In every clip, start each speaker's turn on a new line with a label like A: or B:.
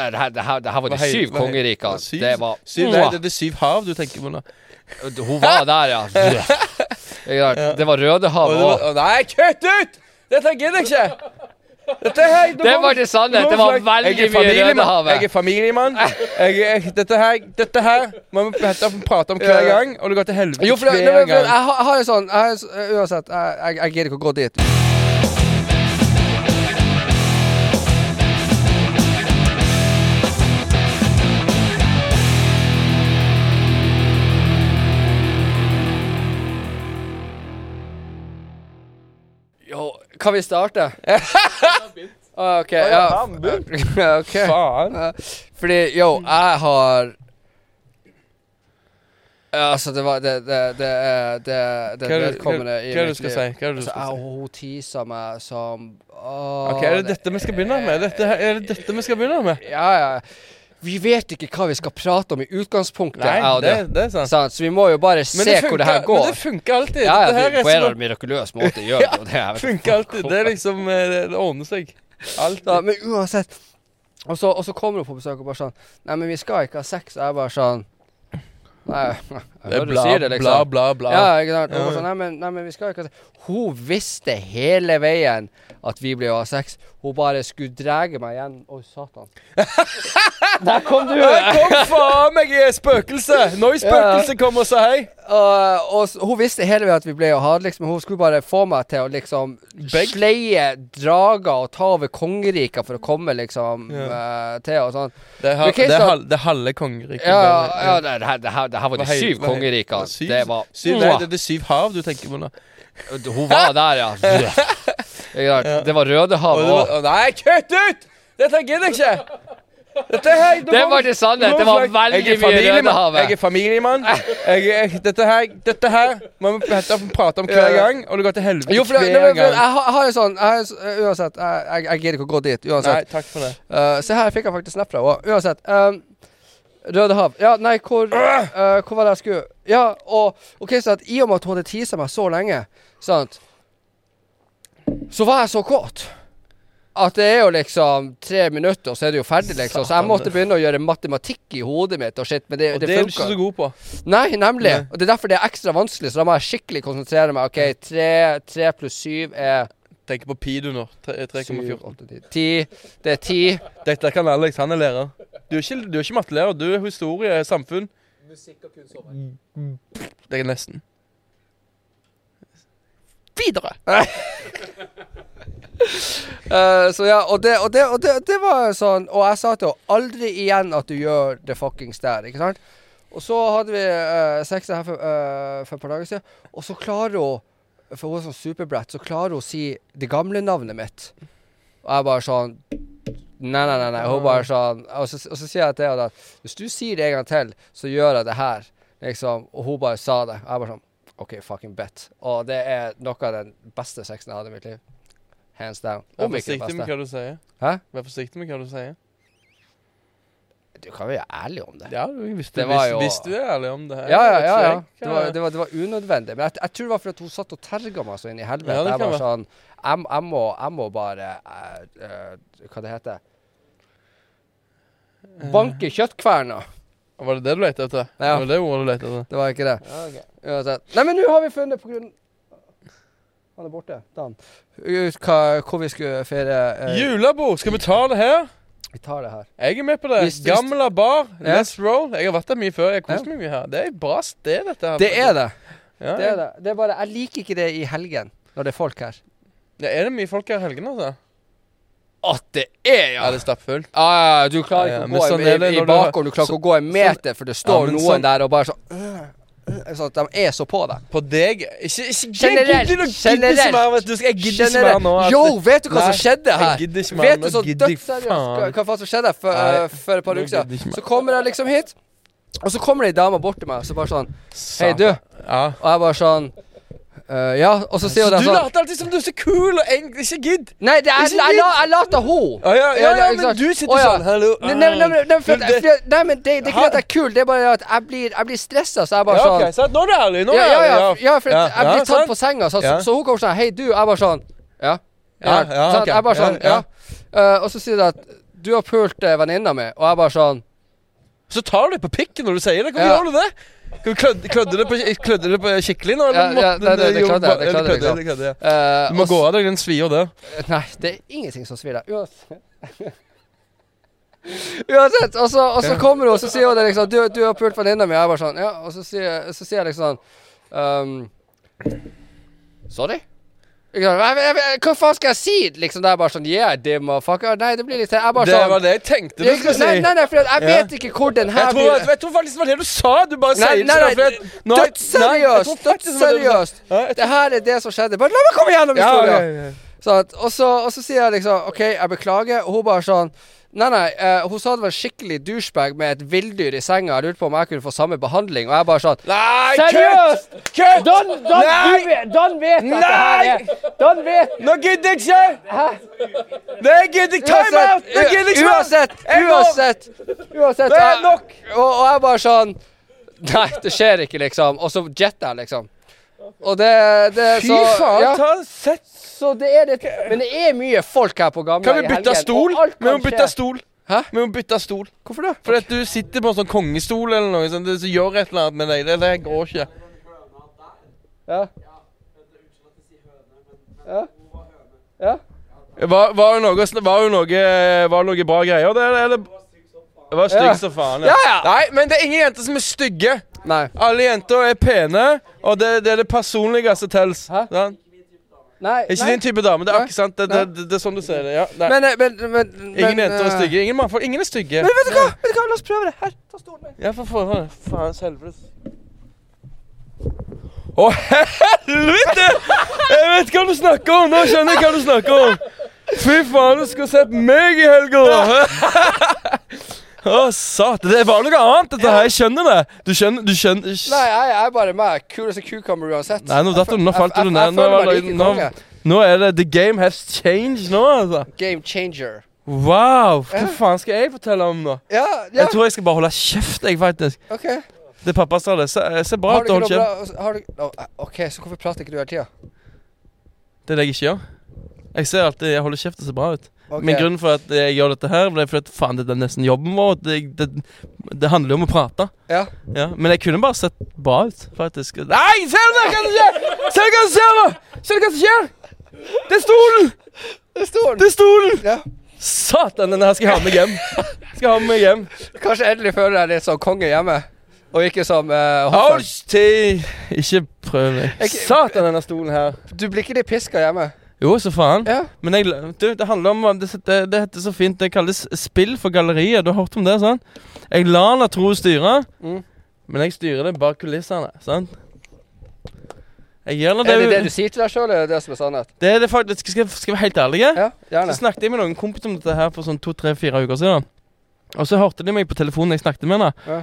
A: her, her, det her, det her var de
B: Hva hei-
A: syv
B: hva hei-
A: kongerikene.
B: hva syv-
A: Det var
B: syv, Nei, det er de syv hav du tenker på nå.
A: Hun var der, ja. Ikke sant? Det var
B: Og
A: Rødehavet
B: det var,
A: òg.
B: å, nei, kutt ut! Dette gidder jeg ikke! Dette her, du
A: Det
B: må-
A: var ikke
B: du må
A: sannhet. Det var
B: slutte. Jeg
A: veldig mye
B: er familiemann. Jeg
A: Rødehavet.
B: er familiemann. Jeg, jeg, dette her Dette her må vi hente og prate om hver
C: Ja.
B: gang, og det går til helvete
C: Jo, for, det-
B: hver
C: men, men,
B: gang.
C: jeg, har, jeg har en sånn jeg, har en sånn- Uansett, jeg, jeg, jeg gidder ikke å gå dit.
A: Jo, Kan vi starte? Ah, OK. Ja. OK.
B: Faen.
C: Fordi, yo, jeg har Ja, Altså, det var Det, det, det, er- det, det
B: Hva er det hva-
C: vedkommende i
B: hva er det du
C: mitt
B: skal
C: liv.
B: si? Hva er det du
C: Altså,
B: skal
C: jeg,
B: si?
C: hun teaser meg som åh,
B: Ok, Er det dette vi skal begynne med? Dette, her- er det dette vi skal begynne med?
C: Ja, ja. Vi vet ikke hva vi skal prate om i utgangspunktet,
B: Nei,
C: jeg og
B: det,
C: det.
B: det er sant.
C: Sant? Så vi må jo bare se hvor det her
B: men
C: går.
B: det funker alltid.
C: ja, ja,
B: Dette her
C: det,
B: er
A: På en
B: som
A: eller annen mirakuløs måte gjør det jo det. jeg vet ikke.
B: Funker alltid. Det er liksom eh, Det, det ordner seg. Alt.
C: Ja, men uansett. Og så, og så kommer hun på besøk og bare sånn Nei, men vi skal ikke ha sex. Og jeg bare sånn Nei, jeg
B: Det er
C: hører du
B: bla,
C: sier det,
B: bla,
C: liksom.
B: bla, bla.
C: Ja, ikke sant. Og hun
B: Ja.
C: bare sånn, nei, men, nei, men vi skal ikke ha sex. Hun visste hele veien at vi ble å ha sex. Hun bare skulle drege meg igjen. Oi, satan. Der kom du!
B: Her kom faen meg eh, spøkelset! Nå er spøkelset kom og sa hei.
C: Og, og s- hun visste hele veien at vi ble å ha det, liksom. Hun skulle bare få meg til å liksom
B: Begge.
C: sleie drager og ta over kongeriket for å komme liksom eh, til og sånn.
B: Det er,
C: Men
B: hal,
C: Kristian-
B: det er, hal, det er halve kongeriket.
C: Ja,
B: bare.
A: Ja, det, det, her, det, her, det her var de
B: eh, Hva hei-
A: syv
B: hva hei-
A: kongerikene.
B: Syv-
A: Det var
B: syv, Nei, det er de syv hav du tenker på nå.
A: Hun var der, ja. Ikke sant? Det var
B: Og
A: Rødehavet
B: det
A: òg.
B: var, å, nei, kutt ut! Dette gidder jeg ikke! Dette her, du
A: Det
B: må-
A: var ikke sannhet. Det var veldig
B: Jeg
A: mye
B: er familiemann. Jeg
A: Rødehavet.
B: er familiemann. Jeg, jeg, dette her Dette her må vi hente og prate om hver
C: Ja.
B: gang, og det går til helvete
C: Jo, for det, men,
B: hver
C: men, men,
B: gang.
C: jeg, har, jeg har en sånn jeg har, en s- Uansett, jeg, jeg, jeg gidder ikke å gå dit.
B: Nei,
C: Uansett.
B: takk for det.
C: Eh, se her, jeg fikk jeg faktisk snap fra henne. Uansett. ehm, Røde Hav. Ja, nei, hvor, eh, hvor var det jeg skulle Ja, og OK, så at i og med at hun hadde teasa meg så lenge, sant Så var jeg så kåt at det er jo liksom tre minutter, og så er det jo ferdig, liksom. Så jeg måtte begynne å gjøre matematikk i hodet mitt og shit, men det,
B: Og
C: det
B: det er du
C: funka.
B: ikke så god på.
C: Nei, nemlig.
B: Nei.
C: Og Det er derfor det er ekstra vanskelig, så da må jeg skikkelig konsentrere meg. OK, tre, tre pluss syv er
B: Tenk på pi du nå. Tre- 3,14.
C: syv, åtte, ti. Ti. Det er ti.
B: Dette kan Alex, han er lærer. Du er ikke, du er ikke mattelærer, du er historie, samfunn. Mm, Det er nesten.
C: Videre! Eh, så ja, og, det, og, det, og det, det var sånn Og jeg sa til henne aldri igjen at du gjør det fuckings der, ikke sant? Og så hadde vi eh, sex her for, eh, for et par dager siden, og så klarer hun For hun er sånn superbrett, så klarer hun å si det gamle navnet mitt. Og jeg bare sånn Nei, nei, nei. nei. Hun bare sånn Og så, og så sier jeg til henne at hvis du sier det en gang til, så gjør jeg det her. Liksom. Og hun bare sa det. Og jeg bare sånn OK, fucking bet. Og det er noe av den beste sexen jeg hadde i mitt liv. Hands down.
B: Vær
C: Om ikke
B: forsiktig
C: den
B: med
C: beste.
B: hva du sier.
C: Hæ?
B: Vær forsiktig med hva du sier.
C: Du kan være ærlig om det.
B: Ja, du, hvis, du,
C: Det var
B: hvis,
C: jo-
B: hvis du er ærlig om det her.
C: Ja, ja,
B: vet
C: ja.
B: ikke
C: ja.
B: jeg.
C: Det, var, det, var, det var unødvendig. Men jeg, jeg tror det var fordi hun satt og terga meg så inn i helvete.
B: Ja, det
C: jeg
B: kan
C: var sånn jeg, jeg, må, jeg må bare eh, eh, Hva det heter Banke kjøttkverna.
B: Var det det du lette etter?
C: Ja.
B: Var det det ordet du lette etter?
C: Det var ikke det. Uansett. Nei, men nå har vi funnet på grunn Han er borte. Dan. Ut hva, hvor vi skulle feire eh,
B: Julebord, skal vi ta det her?
C: Vi tar det her.
B: Jeg er med på det.
C: Hvis- hvis-
B: Gamla bar,
C: Ja.
B: let's roll. Jeg har vært der mye før. Jeg koser
C: Ja.
B: meg mye her. Det er et bra sted, dette her.
C: Det er det.
B: Ja,
C: Det er det. Det er bare Jeg liker ikke det i helgen, når det er folk her.
B: Ja, er det mye folk her i helgene, altså?
A: At det er,
B: Ja,
A: ja!
B: det er stappfullt.
C: Ah, du klarer
B: Ja, ja,
C: ikke
B: men
C: å gå
B: sånn
C: en-
B: er det
C: i, i
B: når du har-
C: bakgården, du klarer ikke å gå en meter, for det
B: Ja,
C: står
B: men
C: noen
B: sånn-
C: der og bare sånn øh, øh, Sånn at de er så på deg.
B: På deg Ikke, ikke
C: Generelt,
B: Jeg gidder ikke
C: generelt.
B: mer, vet du. Jeg gidder ikke
C: Generelt.
B: mer nå. altså. at-
C: Yo, vet du hva som
B: Nei,
C: skjedde
B: Jeg
C: her?
B: gidder ikke mer.
C: Vet du
B: Nå
C: så
B: gidder jeg
C: dødsseriøst hva-
B: faen.
C: hva faen som skjedde for,
B: Nei,
C: eh, for et par
B: nå
C: uker
B: gidder jeg
C: siden?
B: ikke mer.
C: Så kommer jeg liksom hit, og så kommer det ei dame bort til meg og så bare sånn Hei,
B: Satan.
C: du.
B: Ja.
C: Og jeg bare sånn «Øh, Ja, og så sier hun det
B: Så du
C: sånn
B: later alltid som du er så kul og eng... Ikke gidd.
C: Nei, det er,
B: Ikke
C: jeg, jeg, la- jeg later hun.
B: Å ja, ja,
C: Ja,
B: ja,
C: ikke
B: men
C: sant.
B: du sitter
C: Å ja.
B: sånn Hallo.
C: Nei, nei, nei, nei, nei, for at-
B: Du, det-
C: for at- nei, men det, det er ikke
B: Ha-
C: at jeg er kul, det er bare at jeg blir, jeg blir stressa, så jeg bare
B: Ja,
C: sånn
B: ok, sant. Nå er du ærlig. Nå er
C: ja,
B: du
C: ja, ja,
B: ærlig.
C: ja, for at
B: Ja,
C: jeg
B: ja,
C: blir tatt
B: sant.
C: på senga, så,
B: Ja.
C: så hun kommer sånn Hei, du. Jeg bare sånn Ja.
B: Ja, ja,
C: sant?
B: ok.
C: Jeg bare sånn
B: Ja,
C: Ja.
B: ja.
C: Eh, og så sier de at du du har pult eh, venninna mi, og jeg bare sånn
B: Så tar du deg på pikken når du sier det. Hvorfor
C: Ja.
B: gjør du det? Skal vi klødde, klødde, det på, klødde det på skikkelig nå?
C: Ja, ja,
B: måtte
C: nei, det- det
B: jo
C: klødde jeg,
B: bare-
C: det klødde jeg,
B: eller
C: liksom.
B: det klødde jeg.
C: eh,
B: Du må
C: og
B: gå av deg den svia der.
C: Nei, det er ingenting som svir deg. Uansett. Uansett, og så, og så kommer hun, og så sier hun det liksom Du, du har pult venninna mi, og jeg bare sånn Ja, og så sier, så sier jeg liksom sånn um, Sorry? Ikke sant? Jeg, jeg, jeg, hva faen skal jeg si? Liksom, det er bare sånn Yeah, dim og fuck Nei, det blir litt Jeg bare
B: Det
C: sånn
B: var det jeg tenkte du skulle si.
C: Nei, nei, nei, for jeg
B: Ja.
C: vet ikke hvor den her
B: Jeg tror, jeg, tror- jeg tror faktisk det var det du sa. Du bare
C: Nei,
B: sier det.
C: nei,
B: sånn,
C: nei,
B: for at- nå har jeg- nei, jeg tror
C: Dødsseriøst!
B: faktisk det var det du sa.
C: Dødsseriøst!
B: Ja, jeg tror-
C: Det her er det som skjedde. Bare la meg komme gjennom
B: Ja,
C: historien!
B: ja, ja.
C: Sånn at- og, så, og så sier jeg liksom OK, jeg beklager. Og hun bare sånn Nei, nei. eh, hun sa det var en skikkelig douchebag med et villdyr i senga. Jeg lurte på om jeg kunne få samme behandling. Og jeg bare sånn
B: Nei,
A: Seriøst!
B: kutt! Kutt!
A: Don, Don,
B: Nei!
A: du vet- Don vet at det her er Don vet
B: Nå gidder jeg ikke! Nei, jeg gidder ikke. Time out! Nå gidder jeg ikke mer!
C: Uansett!
B: Jeg går.
C: Uansett! uansett
B: Det er
C: jeg-
B: nok.
C: Og, og jeg bare sånn Nei, det skjer ikke, liksom. Og så jetter jeg, liksom. Og det, det
B: Fy
C: så,
B: faen,
C: ja.
B: ta sett
C: Så det er litt Men det er mye folk her på gamle
B: Kan vi bytte stol? Vi må bytte stol.
C: Hæ?
B: Vi må bytte stol.
C: Hvorfor det?
B: Fordi at du sitter på en sånn kongestol eller noe sånt, det- så gjør et eller annet med deg. Det, det går ikke.
C: Ja. Ja. ja.
B: Var, var, det noe, sn- var, det noe, var det noe bra greier der, eller? Jeg var stygg
C: Ja.
B: som faen.
C: Ja, ja.
B: Nei, men det er ingen jenter som er stygge.
C: Nei.
B: Alle jenter er pene, og det, det er det personlige som telles.
C: Hæ?
B: Sant?
C: Nei.
B: Ikke
C: nei.
B: din type dame. Det er
C: Nei.
B: akkurat sant. Det, det, det, det er sånn du ser det. Ja, nei.
C: Men, eh, men, men, men
B: ingen jenter er
C: eh,
B: stygge. Ingen mannfolk. Ingen er stygge.
C: Men vet du hva? Vet du hva? La oss prøve det. Her, ta stolen min.
B: Ja, for faen. Faens helvetes. Å, helvete! Jeg vet hva du snakker om! Nå skjønner jeg hva du snakker om. Fy faen, du skulle sett meg i helga! da. Å, satan. Det var noe annet, dette her. Jeg skjønner det. Du skjønner, du skjønner
C: Nei, jeg jeg er bare meg. Kuleste cucumber uansett.
B: Nei, nå datt du. Nå falt
C: Jeg- jeg-
B: du ned.
C: jeg
B: Nå,
C: føler
B: var
C: meg
B: det-
C: like
B: nå,
C: konge.
B: nå er det The game has changed nå, altså.
C: Game changer.
B: Wow. Hva faen skal jeg fortelle om nå?
C: Ja, ja.
B: Jeg tror jeg skal bare holde kjeft, jeg, faktisk.
C: OK.
B: Det pappa sa det. Se, eh, se bra
C: Har
B: ut,
C: du ikke
B: hold
C: noe
B: kjeft.
C: bra har du, Å, OK, så hvorfor prater ikke du hele tida?
B: Det er det jeg ikke gjør. Jeg ser alltid, jeg holder kjeft og ser bra ut.
C: Ok.
B: Men grunnen for at jeg gjør dette her, ble fordi at faen, det er nesten jobben vår. og Det, det, det handler jo om å prate.
C: Ja.
B: Ja, Men jeg kunne bare sett bra ut, faktisk. Nei, se nå hva som skjer! Se hva som skjer nå! Se hva som skjer! Det er stolen!
C: Det er stolen.
B: Det er stolen!
C: Ja.
B: Satan, denne her skal jeg ha med hjem. Skal jeg ha med hjem.
C: Kanskje endelig føler jeg litt som konge hjemme, og ikke som eh, hoffmann.
B: Hold til Ikke prøv meg.
C: Jeg-
B: Satan, denne stolen her.
C: Du blir ikke litt piska hjemme?
B: Jo, så faen.
C: Ja.
B: Men jeg, du, det handler om det, det, det heter så fint Det kalles spill for galleriet. Du har hørt om det? sant? Jeg lar Natro styre,
C: Mm.
B: men jeg styrer det bak kulissene. sant? Jeg gjør nå det,
C: Er det det du sier til deg sjøl, eller er det det som er sannhet?
B: det er det faktisk, skal, jeg- skal jeg være helt ærlig? Ja.
C: Ja, gjerne.
B: Så snakket jeg med noen kompiser om dette her for sånn to-tre-fire uker siden. Og så hørte de meg på telefonen jeg snakket med henne.
C: Ja.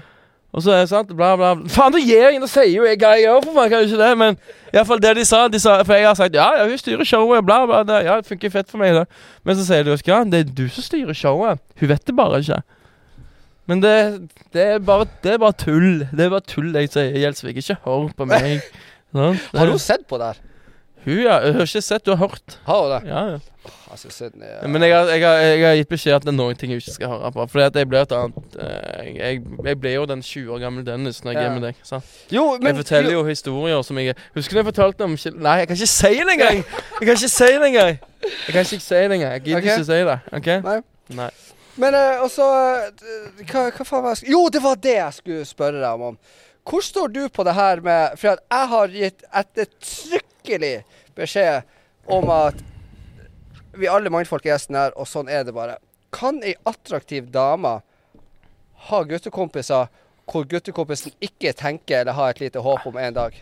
B: Og så er det sant, bla, bla. bla. Faen, da gir jeg inn og sier jo jeg hva jeg gjør, for faen, kan jo ikke det. Men i hvert fall det de sa, de sa For jeg har sagt ja, ja, hun styrer showet, bla, bla. Det, ja, det funker fett for meg, det. Men så sier de jo ja, det er du som styrer showet. Hun vet det bare ikke. Men det, det, er bare, det er bare tull. Det er bare tull, jeg sier. Gjelsvik, ikke hør på meg. Sånn. Det-
C: Har hun sett på det her?
B: Hun, ja. Hun har ikke sett, hun har hørt.
C: Har hun det?
B: Ja, ja.
C: Altså, Sydney ja.
B: Men jeg har, jeg, har, jeg har gitt beskjed at det er noen ting jeg ikke skal høre på. Fordi at jeg blir et annet eh, jeg, jeg blir jo den 20 år gamle Dennis når jeg
C: Ja.
B: er med deg. Sant?
C: Jo,
B: jeg forteller jo historier som jeg Husker du jeg fortalte om Kjell- Nei, jeg kan ikke si det engang! Jeg kan ikke si det engang! Jeg kan ikke si det engang. Jeg gidder
C: Ok.
B: ikke si det. OK?
C: Nei.
B: Nei.
C: Men eh, og så eh, d- hva, hva faen var jeg sk- Jo, det var det jeg skulle spørre deg om. om. Hvor står du på det her med For at jeg har gitt ettertrykkelig beskjed om at vi alle mannfolk er gjesten her, og sånn er det bare. Kan ei attraktiv dame ha guttekompiser hvor guttekompisen ikke tenker eller har et lite håp om en dag?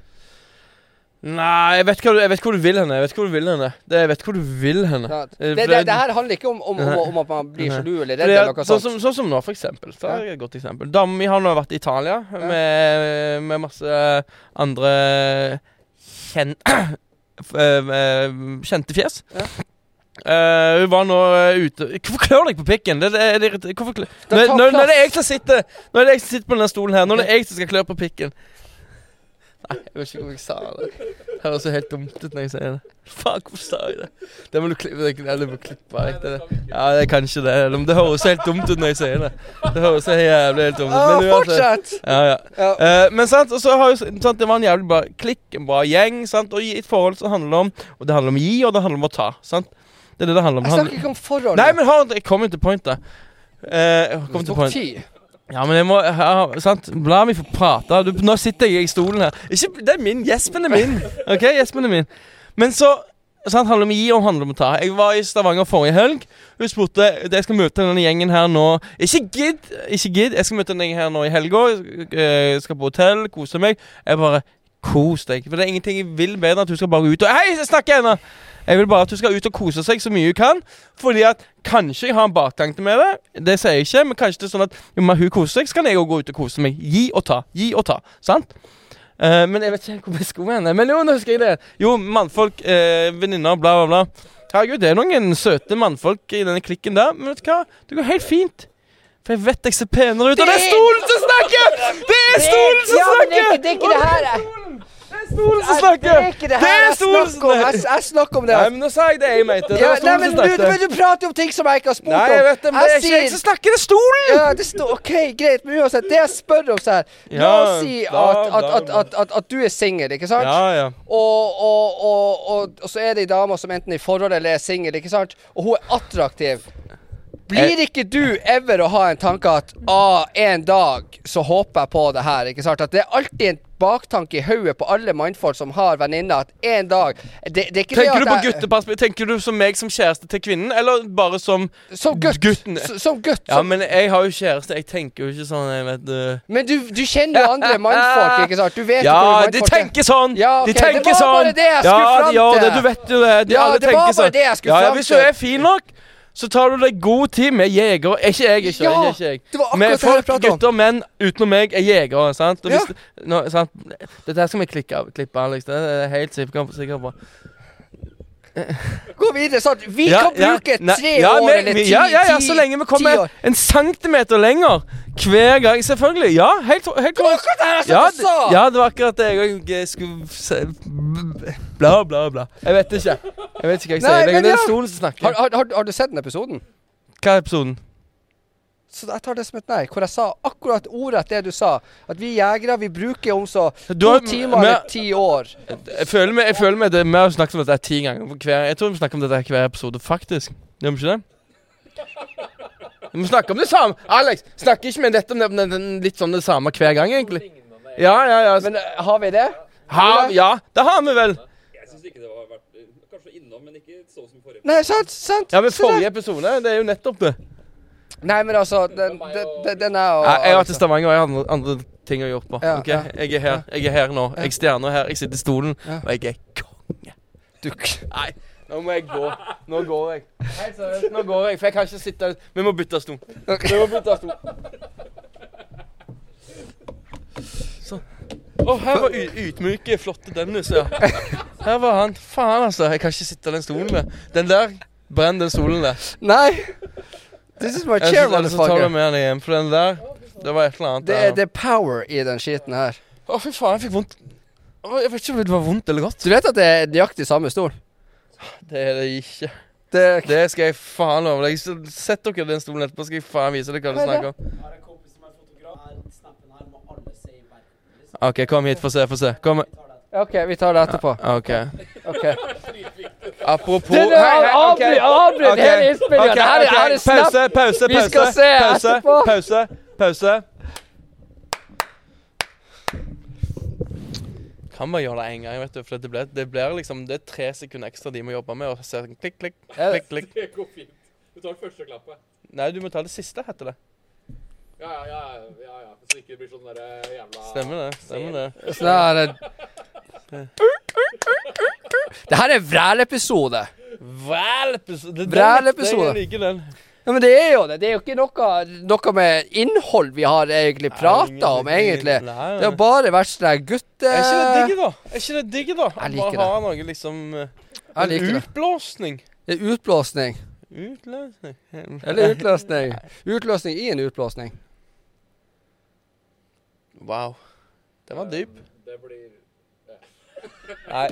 B: Nei, jeg vet, hva du, jeg vet hvor du vil henne. Jeg vet hvor du vil henne. Det, jeg vet hvor du vil henne.
C: Det, Sånn det, det, det her handler ikke om, om, om, om at man blir sjalu eller redd
B: Eh, Fordi
C: eller
B: at-
C: noe
B: sånn,
C: sånt.
B: som, sånn som nå, for eksempel. Ta
C: Ja.
B: et godt eksempel. Dama mi har nå vært i Italia med, med masse andre kjen, f- eh, kjente fjes.
C: Ja.
B: Eh, hun var nå eh, ute Hvorfor klør deg på pikken? Det, det, det, irriter- hvorfor klør
C: Den
B: Nå-
C: tar
B: nå- nå er det
C: plass.
B: jeg som sitter Nå er det jeg som sitter på denne stolen her. Nå er det jeg som skal klø på pikken. Jeg vet ikke hvorfor jeg sa det. Det høres så helt dumt ut når jeg sier det. Fuck, hvorfor sa jeg det? Det må du klippe det, eller du må klippe vekk det. Ja, det er kanskje det. eller- Men det høres helt dumt ut når jeg sier det. Det høres så jævlig helt dumt ut.
C: Ah,
B: Men uansett.
C: fortsett!
B: Ja, ja.
C: Ja.
B: Eh, men sant, og så har jo sant, Det var en jævlig bra klikk, en bra gjeng. sant Og i et forhold så handler det om Og det handler om å gi, og det handler om å ta. sant Det er det det handler om.
C: Jeg
B: Det
C: snakker
B: handler...
C: ikke om forhold.
B: Nei, men hold, jeg kommer til pointet. Eh, jeg kommer til
C: Tok
B: point.
C: ti.
B: Ja, men jeg må ja, Sant? La meg få prate. Du, nå sitter jeg i stolen her. Ikke, det er min. Gjespen er min. Ok, gjespen er min. Men så sant, handler det om å gi og handler det om å ta. Jeg var i Stavanger forrige helg. Hun spurte Jeg skal møte denne gjengen her nå Ikke gidd! Ikke gidd. Jeg skal møte denne gjengen her nå i helga. eh, Skal på hotell, kose meg. Jeg bare Kos deg. For det er ingenting jeg vil bedre enn at du skal bare ut og Hei, jeg snakker ennå! Jeg vil bare at du skal ut og kose seg så mye du kan. Fordi at kanskje jeg har en baktanke med det. Det sier jeg ikke, men kanskje det er sånn at jo mer hun koser seg, så kan jeg òg gå ut og kose meg. Gi og ta. Gi og ta. Sant? Eh, men jeg vet ikke helt hvor jeg skulle hen. Men jo, nå husker jeg det. Jo, mannfolk, eh, venninner, bla, bla, bla. Herregud, det er noen søte mannfolk i denne klikken der. Men vet du hva? Det går helt fint. For jeg vet jeg ser penere ut. Og det er stolen som snakker! Det er stolen som
C: Ja, men det er
B: snakker!
C: ikke- det er ikke det her jeg
B: Det er stolen som
C: Det
B: snakker!
C: er ikke det
B: Det
C: her
B: er
C: jeg
B: stolen
C: snakker om. Jeg, jeg snakker om det.
B: Nei, men nå sa jeg det jeg mente. Det
C: Ja,
B: var
C: nei,
B: stolen
C: men
B: som
C: du,
B: snakket.
C: men du prater jo om ting som jeg ikke har spurt om.
B: Nei, jeg vet det, men det er ikke
C: sier-
B: jeg som snakker, det er stolen!
C: Ja, det står OK, greit, men uansett, det jeg spør om så her La
B: Ja,
C: oss si
B: da-
C: at, at,
B: da-
C: at, at, at, at du er singel, ikke sant?
B: ja.
C: Og, og, og, og, og så er det ei dame som enten er i forhold eller er singel, ikke sant? Og hun er attraktiv. Blir
B: Eh.
C: ikke du ever å ha en tanke at ah, en dag så håper jeg på det her, ikke sant? At det er alltid en baktanke i hodet på alle mannfolk som har venninner, at en dag det, det er ikke det
B: Tenker
C: at
B: du på
C: jeg-
B: gutteperspektiv? Tenker du som meg som kjæreste til kvinnen, eller bare som
C: Som gutt.
B: gutten?
C: S- Som gutt.
B: Ja,
C: som-
B: men jeg har jo kjæreste. Jeg tenker jo ikke sånn, jeg vet du.
C: Men du, du kjenner jo andre mannfolk, ikke sant? Du vet jo
B: Ja,
C: hvordan
B: de
C: mannfolk er.
B: tenker sånn!
C: Ja, ok,
B: De tenker
C: det var
B: sånn!
C: bare det jeg
B: ja,
C: skulle fram
B: de gjør
C: til.
B: det. Du vet jo det. De
C: Ja,
B: alle
C: det var
B: tenker
C: bare
B: sånn.
C: det jeg skulle
B: ja, ja,
C: fram
B: Hvis du
C: til.
B: er fin nok, så tar du deg god tid med jegere. Er Ikke jeg, ikke jeg.
C: Ja,
B: ikke jeg.
C: det var akkurat
B: med
C: det jeg
B: folk,
C: pratet om.
B: gutter, menn utenom meg er jegere. sant? Og
C: Ja.
B: hvis, det- nå, sant? Dette her skal vi klikke av, klippe, Alex. Det er jeg helt sikker sikker på.
C: Gå videre, sant? Vi
B: Ja,
C: kan
B: ja,
C: bruke
B: nei,
C: tre
B: ja,
C: år
B: men-
C: eller ti,
B: ja, ja, ja,
C: ti-
B: så lenge
C: ti
B: vi kommer
C: år.
B: en centimeter lenger hver gang. Selvfølgelig. Ja, helt, helt
C: Det var akkurat det her som
B: ja,
C: du sa!
B: det- ja, det var akkurat det jeg òg skulle se Bla, bla, bla. Jeg vet ikke. Jeg vet ikke hva jeg
C: Nei,
B: sier lenger.
C: men
B: Det
C: ja.
B: er stolen som snakker.
C: Har, har, har, har du sett den episoden?
B: Hva er episoden?
C: Så jeg tar det som et nei, hvor jeg sa akkurat ordrett det du sa. At vi jegere, vi bruker om så
B: Du
C: to
B: har-
C: timer
B: men-
C: eller ti år.
B: Jeg føler meg, jeg føler meg det, Vi har snakket om dette her ti ganger. for Hver, jeg tror vi snakker om dette her hver episode, faktisk. Gjør vi ikke det? Vi snakker om det samme. Alex, snakker ikke vi dette om det, om det, den- litt sånn det samme hver gang, egentlig? Ja, ja, ja.
C: Men eh, har vi det?
B: Ha, ja, det har vi vel.
D: Jeg syns ikke det har vært eh, Kanskje innom, men ikke sånn som forrige.
C: Nei, sant? sant
B: Ja, men
C: Se der.
B: forrige episode, det er jo nettopp det.
C: Nei, men altså, den, den, den- den er jo
B: Jeg, jeg har vært i Stavanger, og jeg har andre, andre ting å gjøre på.
C: altså. Ja,
B: Ok,
C: ja.
B: Jeg er her jeg er her nå. Jeg er stjerna her. Jeg sitter i stolen,
C: Ja.
B: og jeg er konge.
C: Du,
B: Nei, nå må jeg gå. Nå går jeg. Helt seriøst, nå går jeg, for jeg kan ikke sitte Vi må bytte stol. Vi må bytte stol. Sånn. Å, her var u- ydmyke, flotte Dennis, ja. Her var han. Faen, altså. Jeg kan ikke sitte i den stolen der. Den der. Brenn den stolen der.
C: nei! This is my
B: Jeg
C: chair,
B: synes- Ellers så tar du
C: motherfucker.
B: med den hjem, for den der Det var et eller annet
C: Det
B: der.
C: er, det er power i den skiten her.
B: Å, fy faen, jeg fikk vondt. Å, Jeg vet ikke om det var vondt eller godt.
C: Du vet at det er nøyaktig samme stol?
B: Det er det ikke.
C: Det er
B: Det skal jeg faen love deg. Så Sett dere i den stolen etterpå, skal jeg faen vise dere hva du
C: Hva er
B: snakker om. OK, kom hit, få se, få se. Kom.
C: OK, vi tar det etterpå.
B: OK.
C: Ok
B: Apropos
C: Det- det-
B: ok.
C: avbryt- avbryt
B: Ok,
C: hele innspillingen.
B: ok,
C: Det her er-
B: ok.
C: her er snap.
B: Pause, pause, pause.
C: Vi skal se
B: pause,
C: etterpå.
B: Pause, pause. Kan bare gjøre det én gang, vet du. For det blir, det blir liksom Det er tre sekunder ekstra de må jobbe med. Og så ser jeg klikk, klikk,
C: Er det-
B: klikk, klikk.
D: Det går fint. Du tar første klappet.
B: Nei, du må ta det siste, heter det.
D: Ja, ja, ja. ja, ja. Så ikke det blir sånn derre jævla
B: Stemmer det. stemmer det.
C: Så det her er Det her er vrælepisode.
B: Vrælepisode. Det er den
C: Vrælepisode.
B: Jeg liker den.
C: Ja, men det er jo det. Det er jo ikke noe, noe med innhold vi har egentlig prata om,
B: Nei, ingen-
C: egentlig.
B: Nei, nei.
C: Det har bare vært sånn der gutte...
B: Er ikke det digg, da? Er ikke det digg, da?
C: Jeg liker
B: Bare ha noe liksom eh,
C: Jeg liker det.
B: Utblåsning.
C: Det er utblåsning.
B: Utløsning
C: Eller utløsning. Utløsning i en utblåsning.
B: Wow. Den var dyp.
D: Det blir
C: Nei.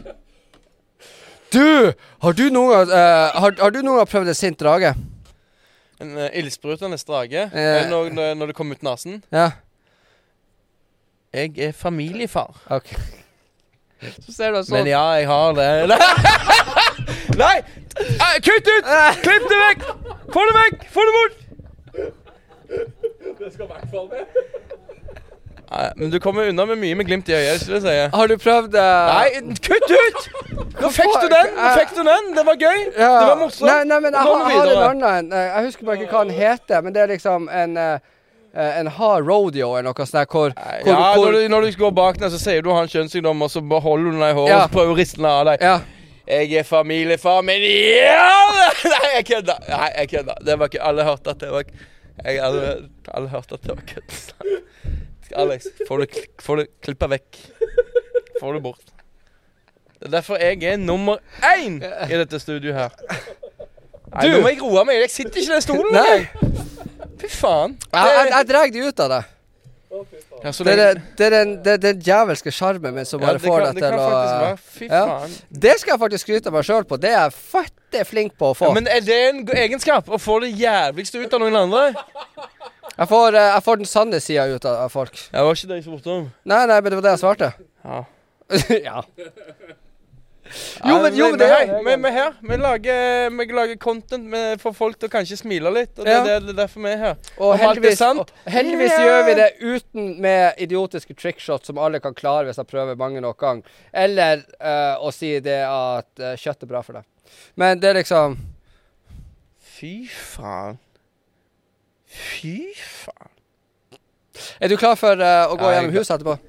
C: Du! Har du noen gang, eh, har, har du noen gang prøvd en sint drage?
B: En uh, ildsprutende strage eh, når, når, når det kommer ut nesen.
C: Ja.
B: Jeg er familiefar.
C: OK.
B: Så ser du sånn Men ja, jeg har det. Nei! Eh, Kutt ut! Klipp det vekk! Få det vekk! Få det bort!
D: Det skal i hvert fall med.
B: Nei, men du kommer unna med mye med glimt i øyet, skulle jeg si.
C: Har du prøvd eh,
B: Nei, kutt ut! Nå fikk du den! Nå fikk du den! Det var gøy!
C: Ja.
B: Det var morsomt.
C: Nei, nei, men jeg,
B: Nå må
C: har-
B: vi
C: jeg har en
B: videre.
C: annen en. Eh, Jeg husker bare ikke hva den heter, men det er liksom en eh, eh, en hard rodeo eller noe sånt der hvor,
B: Nei,
C: hvor,
B: ja,
C: hvor
B: Når, du, når du går bak den, så sier du har en kjønnssykdom, og så bare holder du den i håret
C: Ja.
B: og så prøver du å riste den av deg.
C: Ja.
B: Jeg er familiefar, men ja! Nei, jeg kødda. Nei, jeg kødda. Det var ikke Alle hørte at det var jeg, alle, alle hørte at det var kødd. Alex, får du, kl- får du klippa vekk. Får du bort. Det er derfor jeg er nummer én i dette studioet her. Nei,
C: Du!
B: nå må jeg roe meg. Jeg sitter ikke i den stolen.
C: Nei.
B: jeg. Fy faen.
C: Jeg, jeg, jeg drar det ut av deg.
B: Ja, så
C: Det er,
B: lenge-
C: det- det er den, det er den djevelske sjarmen min som
B: Ja,
C: bare
B: det
C: får
B: kan-
C: deg
B: det
C: til
B: kan
C: å
B: faktisk
C: eh,
B: være- Fy
C: ja.
B: faen.
C: Det skal jeg faktisk skryte av meg sjøl på. Det er jeg fattig flink på å få.
B: Ja, men er det en go- egenskap? Å få det jævligste ut av noen andre?
C: Jeg får, eh, jeg får den sanne sida ut av av folk.
B: Det var ikke det jeg spurte om.
C: Nei, nei, men det var det jeg svarte.
B: Ja.
C: ja. Jo, men, jo, men det
B: hei, vi, vi er her. Vi lager, vi lager content med, for folk til å kanskje smile litt. Og det,
C: Ja.
B: er det, det er derfor vi er her.
C: Og
B: Om alt er
C: heldigvis,
B: sant?
C: og heldigvis
B: Ja.
C: gjør vi det uten med idiotiske trickshots som alle kan klare hvis jeg prøver mange nok gang. Eller eh, å si det at eh, kjøtt er bra for deg. Men det er liksom
B: Fy faen. Fy faen.
C: Er du klar for eh, å gå
B: Nei,
C: gjennom
B: jeg-
C: huset etterpå?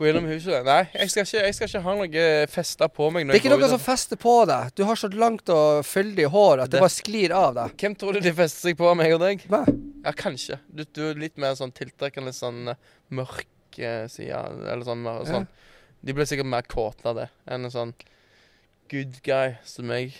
B: Gå gjennom huset. Nei, jeg skal ikke, jeg skal ikke ha noe festa på meg.
C: Det er
B: Når
C: ikke
B: jeg går
C: noe
B: ut.
C: som fester på deg. Du har så langt og fyldig hår at det
B: Det-
C: bare sklir av deg.
B: Hvem tror du de fester seg på, meg og deg?
C: Hva?
B: Ja, kanskje. Du, du er litt mer sånn tiltrekkende sånn eh, mørk eh, side, eller sånn mer sånn. De blir sikkert mer kåte av det enn en sånn good guy som meg.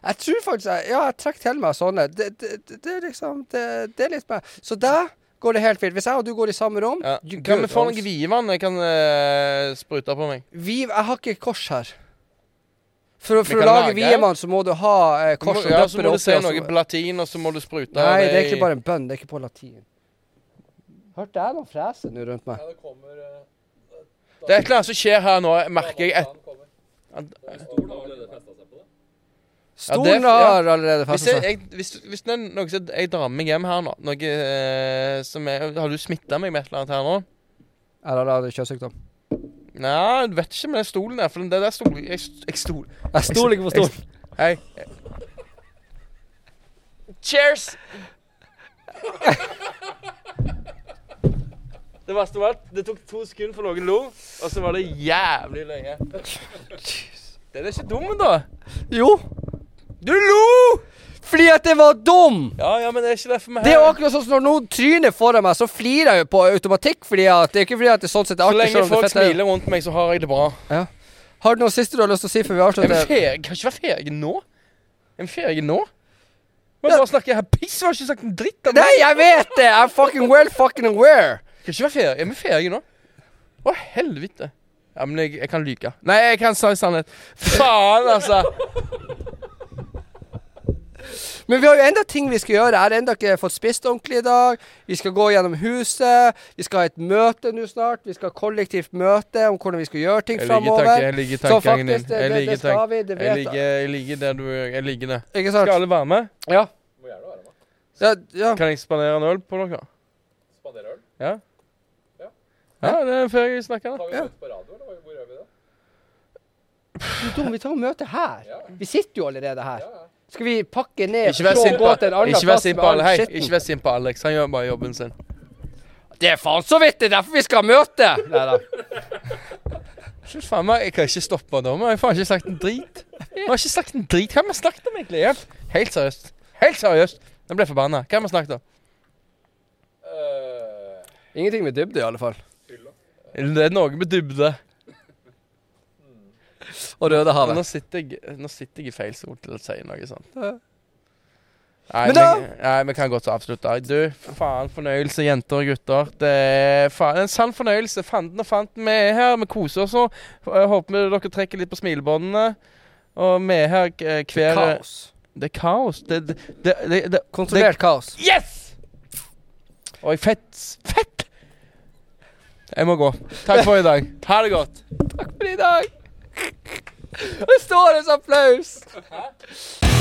C: Jeg tror faktisk jeg, Ja, jeg trekker til meg sånne. Det, det, det, det er liksom det, det er litt meg. Så der går det helt fint. Hvis jeg og du går i samme rom
B: Ja.
C: you
B: Kan
C: good,
B: vi få
C: Hans.
B: noe vievann jeg kan eh, sprute på meg?
C: vi, Jeg har ikke kors her. For, å-
B: Vi
C: for å
B: kan
C: lage
B: lage.
C: viemann, så må du ha eh,
B: Du må,
C: kors og
B: ja,
C: døppe
B: så
C: det
B: må du
C: oppi,
B: se
C: og så-
B: noe på latin, og så må du sprute
C: altså. Nei, det er
B: i-
C: egentlig bare en bønn. Det er ikke på latin. Hørte jeg noen frese nå rundt meg?
D: Ja, det kommer eh,
B: Det er et eller annet som skjer her nå, merker jeg. Et,
D: Han kommer.
B: at,
D: Stolen har allerede festet seg på det.
B: Ja, det-
C: Stolen
B: ja.
C: har allerede
B: hvis,
C: festet
B: jeg,
C: seg.
B: jeg, hvis, hvis det er noe som Jeg drar meg hjem her nå. Noe eh, som er Har du smitta meg med et eller annet her nå?
C: Eller har du kjønnssykdom?
B: Nei, jeg vet ikke med den stolen der, for den der stolen Jeg, jeg stol...
C: Jeg stoler ikke på stolen.
B: Hei. Cheers! Det verste var at det tok to sekunder for noen lo, og så var det jævlig løye. Den er ikke dum, da.
C: Jo.
B: Du lo!
C: Fordi at det var dum!
B: Ja, ja, men det er ikke derfor vi er
C: Det er jo
B: her.
C: akkurat sånn som når noen tryner foran meg, så flirer jeg jo på automatikk. Fordi at Det er ikke fordi at det sånn sett er
B: Så
C: artig.
B: lenge
C: selv om
B: folk
C: det er fett.
B: smiler rundt meg, så har jeg det bra.
C: Har du noe siste du har lyst til å si før vi
B: Jeg, er
C: avslutter?
B: ferdig. jeg kan ikke være ferdig nå. Jeg er ferdig nå. Men bare snakker her piss, jeg har ikke sagt en dritt om det.
C: Nei, jeg vet det! I'm fucking well fucking aware.
B: Skal ikke være ferie. Er vi ferie nå? Å, helvete. Ja, men jeg, jeg kan lyke. Nei, jeg kan si sannhet. Faen, altså.
C: Men vi har jo enda ting vi skal gjøre. Jeg har enda ikke fått spist ordentlig i dag. Vi skal gå gjennom huset. Vi skal ha et møte nå snart. Vi skal ha kollektivt møte om hvordan vi skal gjøre ting
B: Jeg liker tanken,
C: framover.
B: jeg liker
C: Så
B: tankegangen din.
C: faktisk, det,
B: Jeg
C: det,
B: liker
C: det skal
B: tanken.
C: vi. Det
B: Jeg
C: vet
B: liker,
C: jeg.
B: jeg liker det du Jeg liker det.
C: Ikke
B: Skal
C: sant?
B: alle være med?
C: Ja.
D: Må gjerne være med.
C: Ja, ja.
B: Kan jeg spandere en øl på dere?
D: Spandere øl.
B: Ja?
D: Ja.
B: Ja, det er en ferie vi snakker om.
D: Tar vi
C: Ja.
D: det ut på radio, eller hvor gjør vi det?
C: Du, Tom, vi tar møte her.
D: Ja,
C: Vi sitter jo allerede her.
D: ja, ja.
C: Skal vi pakke ned
B: Ikke vær
C: og
B: sint på,
C: gå til en annen
B: ikke vær
C: plass
B: sint
C: med
B: på
C: all
B: alle. Hei,
C: skitten?
B: ikke vær sint på Alex. Han gjør bare jobben sin.
C: Det er faen så vidt! Det er derfor vi skal ha møte! Neida.
B: Fy faen meg, jeg kan ikke stoppe nå. men Jeg har faen ikke sagt en drit. Jeg har ikke sagt en drit. Hva har vi snakket om egentlig? Ja. Helt seriøst. Helt seriøst. Jeg ble forbanna. Hva har vi snakket om?
D: Eh,
C: Ingenting med dybde, i alle fall.
D: Fylla.
B: Det er noe med dybde.
C: Og Rødehavet.
B: Nå sitter jeg, nå sitter jeg i feil stol til å si noe sånt. Nei,
C: Men da-
B: vi- Nei, vi kan godt avslutte. Du, faen fornøyelse, jenter og gutter. Det er faen, en sann fornøyelse. Fanden og fanten, vi er her. Vi koser oss nå. Jeg Håper vi- dere trekker litt på smilebåndene. Og vi er her eh, hver
C: Kaos.
B: Det er kaos. Det, det, det, det, det
C: Kontrollert kaos.
B: det- Yes! Oi, fett. Fett! Jeg må gå. Takk for i dag. Ha det godt.
C: Takk for i dag. Det står en sånn applaus.